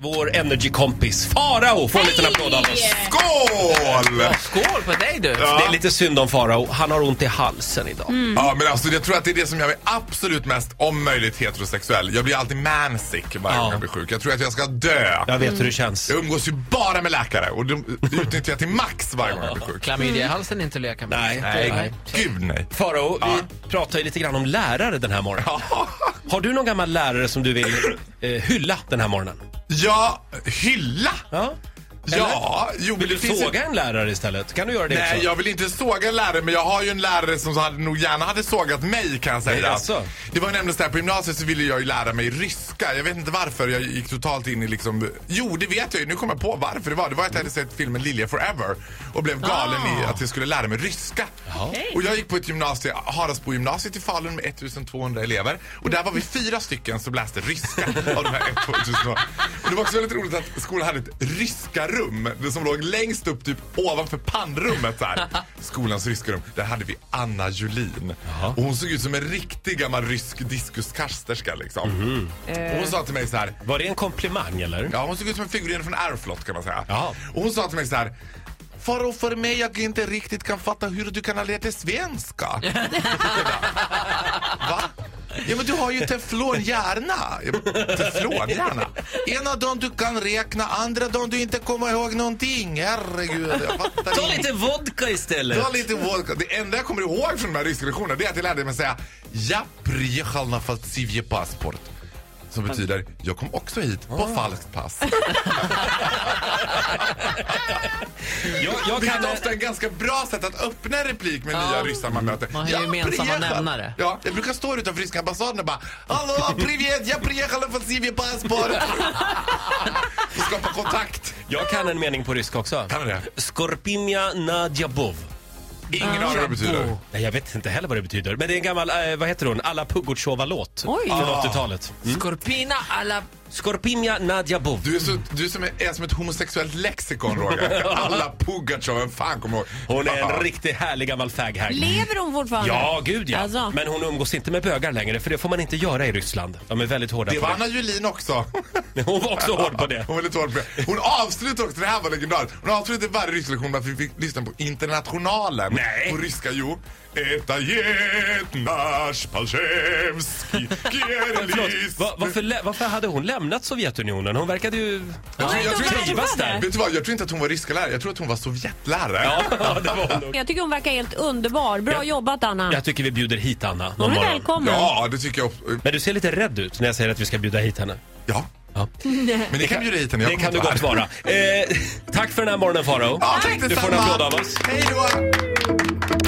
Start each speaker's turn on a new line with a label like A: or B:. A: Vår energikompis Farao får en liten applåd av oss.
B: Skål!
C: Skål på dig du!
A: Det är lite synd om Farao, han har ont i halsen idag.
B: Ja, men alltså, jag tror att det är det som gör mig absolut mest om möjligt heterosexuell. Jag blir alltid mansick varje gång jag blir sjuk. Jag tror att jag ska dö.
A: Jag vet hur det känns.
B: Jag umgås ju bara med läkare och de utnyttjar jag till max varje gång jag blir sjuk.
C: Klamydia i halsen är inte att leka med.
A: Nej, nej, nej.
B: Gud nej.
A: Farao, vi pratar ju lite grann om lärare den här morgonen. Har du någon gammal lärare som du vill eh, hylla den här morgonen?
B: Ja, hylla!
A: Ja.
B: Ja, jo, men
A: Vill du
B: det finns ju-
A: såga en lärare istället? Kan du göra det
B: Nej,
A: också?
B: jag vill inte såga en lärare, men jag har ju en lärare som så hade, nog gärna hade sågat mig kan jag säga.
A: Nej, alltså.
B: Det var nämligen så här, på gymnasiet så ville jag ju lära mig ryska. Jag vet inte varför jag gick totalt in i liksom... Jo, det vet jag ju. Nu kommer jag på varför det var. Det var att jag hade sett filmen Lilja Forever och blev galen i att jag skulle lära mig ryska. Och jag gick på ett gymnasium, Haraldsbo gymnasiet i Falun med 1200 elever. Och där var vi fyra stycken som läste ryska av de här 1200. Och det var också väldigt roligt att skolan hade ett ryska rum det som låg längst upp typ ovanför pannrummet. Så här. Skolans ryska rum. Där hade vi Anna Julin. Och hon såg ut som en riktig gammal rysk diskuskasterska liksom. Och hon sa till mig så här.
A: Var det en komplimang eller?
B: Ja, hon såg ut som en figurin från Airflot kan man säga.
A: Ja.
B: Och hon sa till mig så här. Farao, för mig jag inte riktigt kan fatta hur du kan ha lärt dig svenska. Va? Ja men du har ju teflonhjärna. Jag bara, Teflonhjärna? Ena dagen du kan räkna, andra dagen du inte kommer ihåg någonting. Herregud, jag fattar
A: Ta
B: inte.
A: lite vodka istället!
B: Ta lite vodka. Det enda jag kommer ihåg från de här ryska lektionerna det är att jag lärde mig att säga Jag приехал на фальсивье паспорт. Som betyder jag kom också hit på
A: Ah.
B: falskt pass.
A: Jag, jag
B: Vilket
A: kan... eh,
B: är ofta är ett ganska bra sätt att öppna en replik med nya ryssar man möter.
C: Man har
B: Jag
C: gemensamma
B: приехал.
C: nämnare.
B: Ja, jag brukar stå utanför ryska ambassaden och bara Hallå, привет, jag приехал на фальсивье паспорт. Och skapa kontakt.
A: Jag kan en mening på ryska också.
B: Kan du det?
A: Skorpimia nadjabov.
B: Ingen aning vad det betyder.
A: Nej, jag vet inte heller vad det betyder. Men det är en gammal, eh, vad heter hon, Alla Pugutjova-låt.
C: Oj.
A: Från 80-talet.
C: Skorpina alla...
A: Skorpimia nadjabov.
B: Du är, så, du är, som, är som ett homosexuellt lexikon, Roger. Alla Pugatjov, vem fan kommer ihåg?
A: Hon är en riktigt härlig gammal fag
D: Lever hon fortfarande?
A: Ja, gud ja.
D: Alltså.
A: Men hon umgås inte med bögar längre, för det får man inte göra i Ryssland. De är väldigt hårda
B: Det
A: på
B: var Anna Julin också.
A: det. Hon var också hård på det.
B: Hon var lite hård på det. Hon avslutade också, det här var legendariskt. Hon avslutade varje rysklektion med att vi fick lyssna på Internationalen.
A: Nej.
B: På ryska, jo. Eta jednash palchevskij
A: Förlåt, va, varför, lä- varför hade hon lämnat Sovjetunionen? Hon verkade ju
B: Jag tror- jag tror inte-
A: trivas där.
B: Vet du vad, jag tror inte att hon var ryskalärare, jag tror att hon var sovjetlärare.
A: Ja, det var hon nog.
D: Jag tycker hon verkar helt underbar. Bra
A: Ja.
D: jobbat Anna.
A: Jag tycker vi bjuder hit Anna. någon
D: hon är
A: morgon.
D: välkommen.
B: Ja, det tycker jag.
A: Men du ser lite rädd ut när jag säger att vi ska bjuda hit henne.
B: Ja.
A: Ja.
B: Men ni kan bjuda hit henne, jag
A: det
B: kommer
A: kan du
B: inte
A: gott vara. Eh, tack för den här morgonen Farao.
B: Ja, tack
A: du får en
B: detsamma.
A: applåd av oss.
B: Hej då!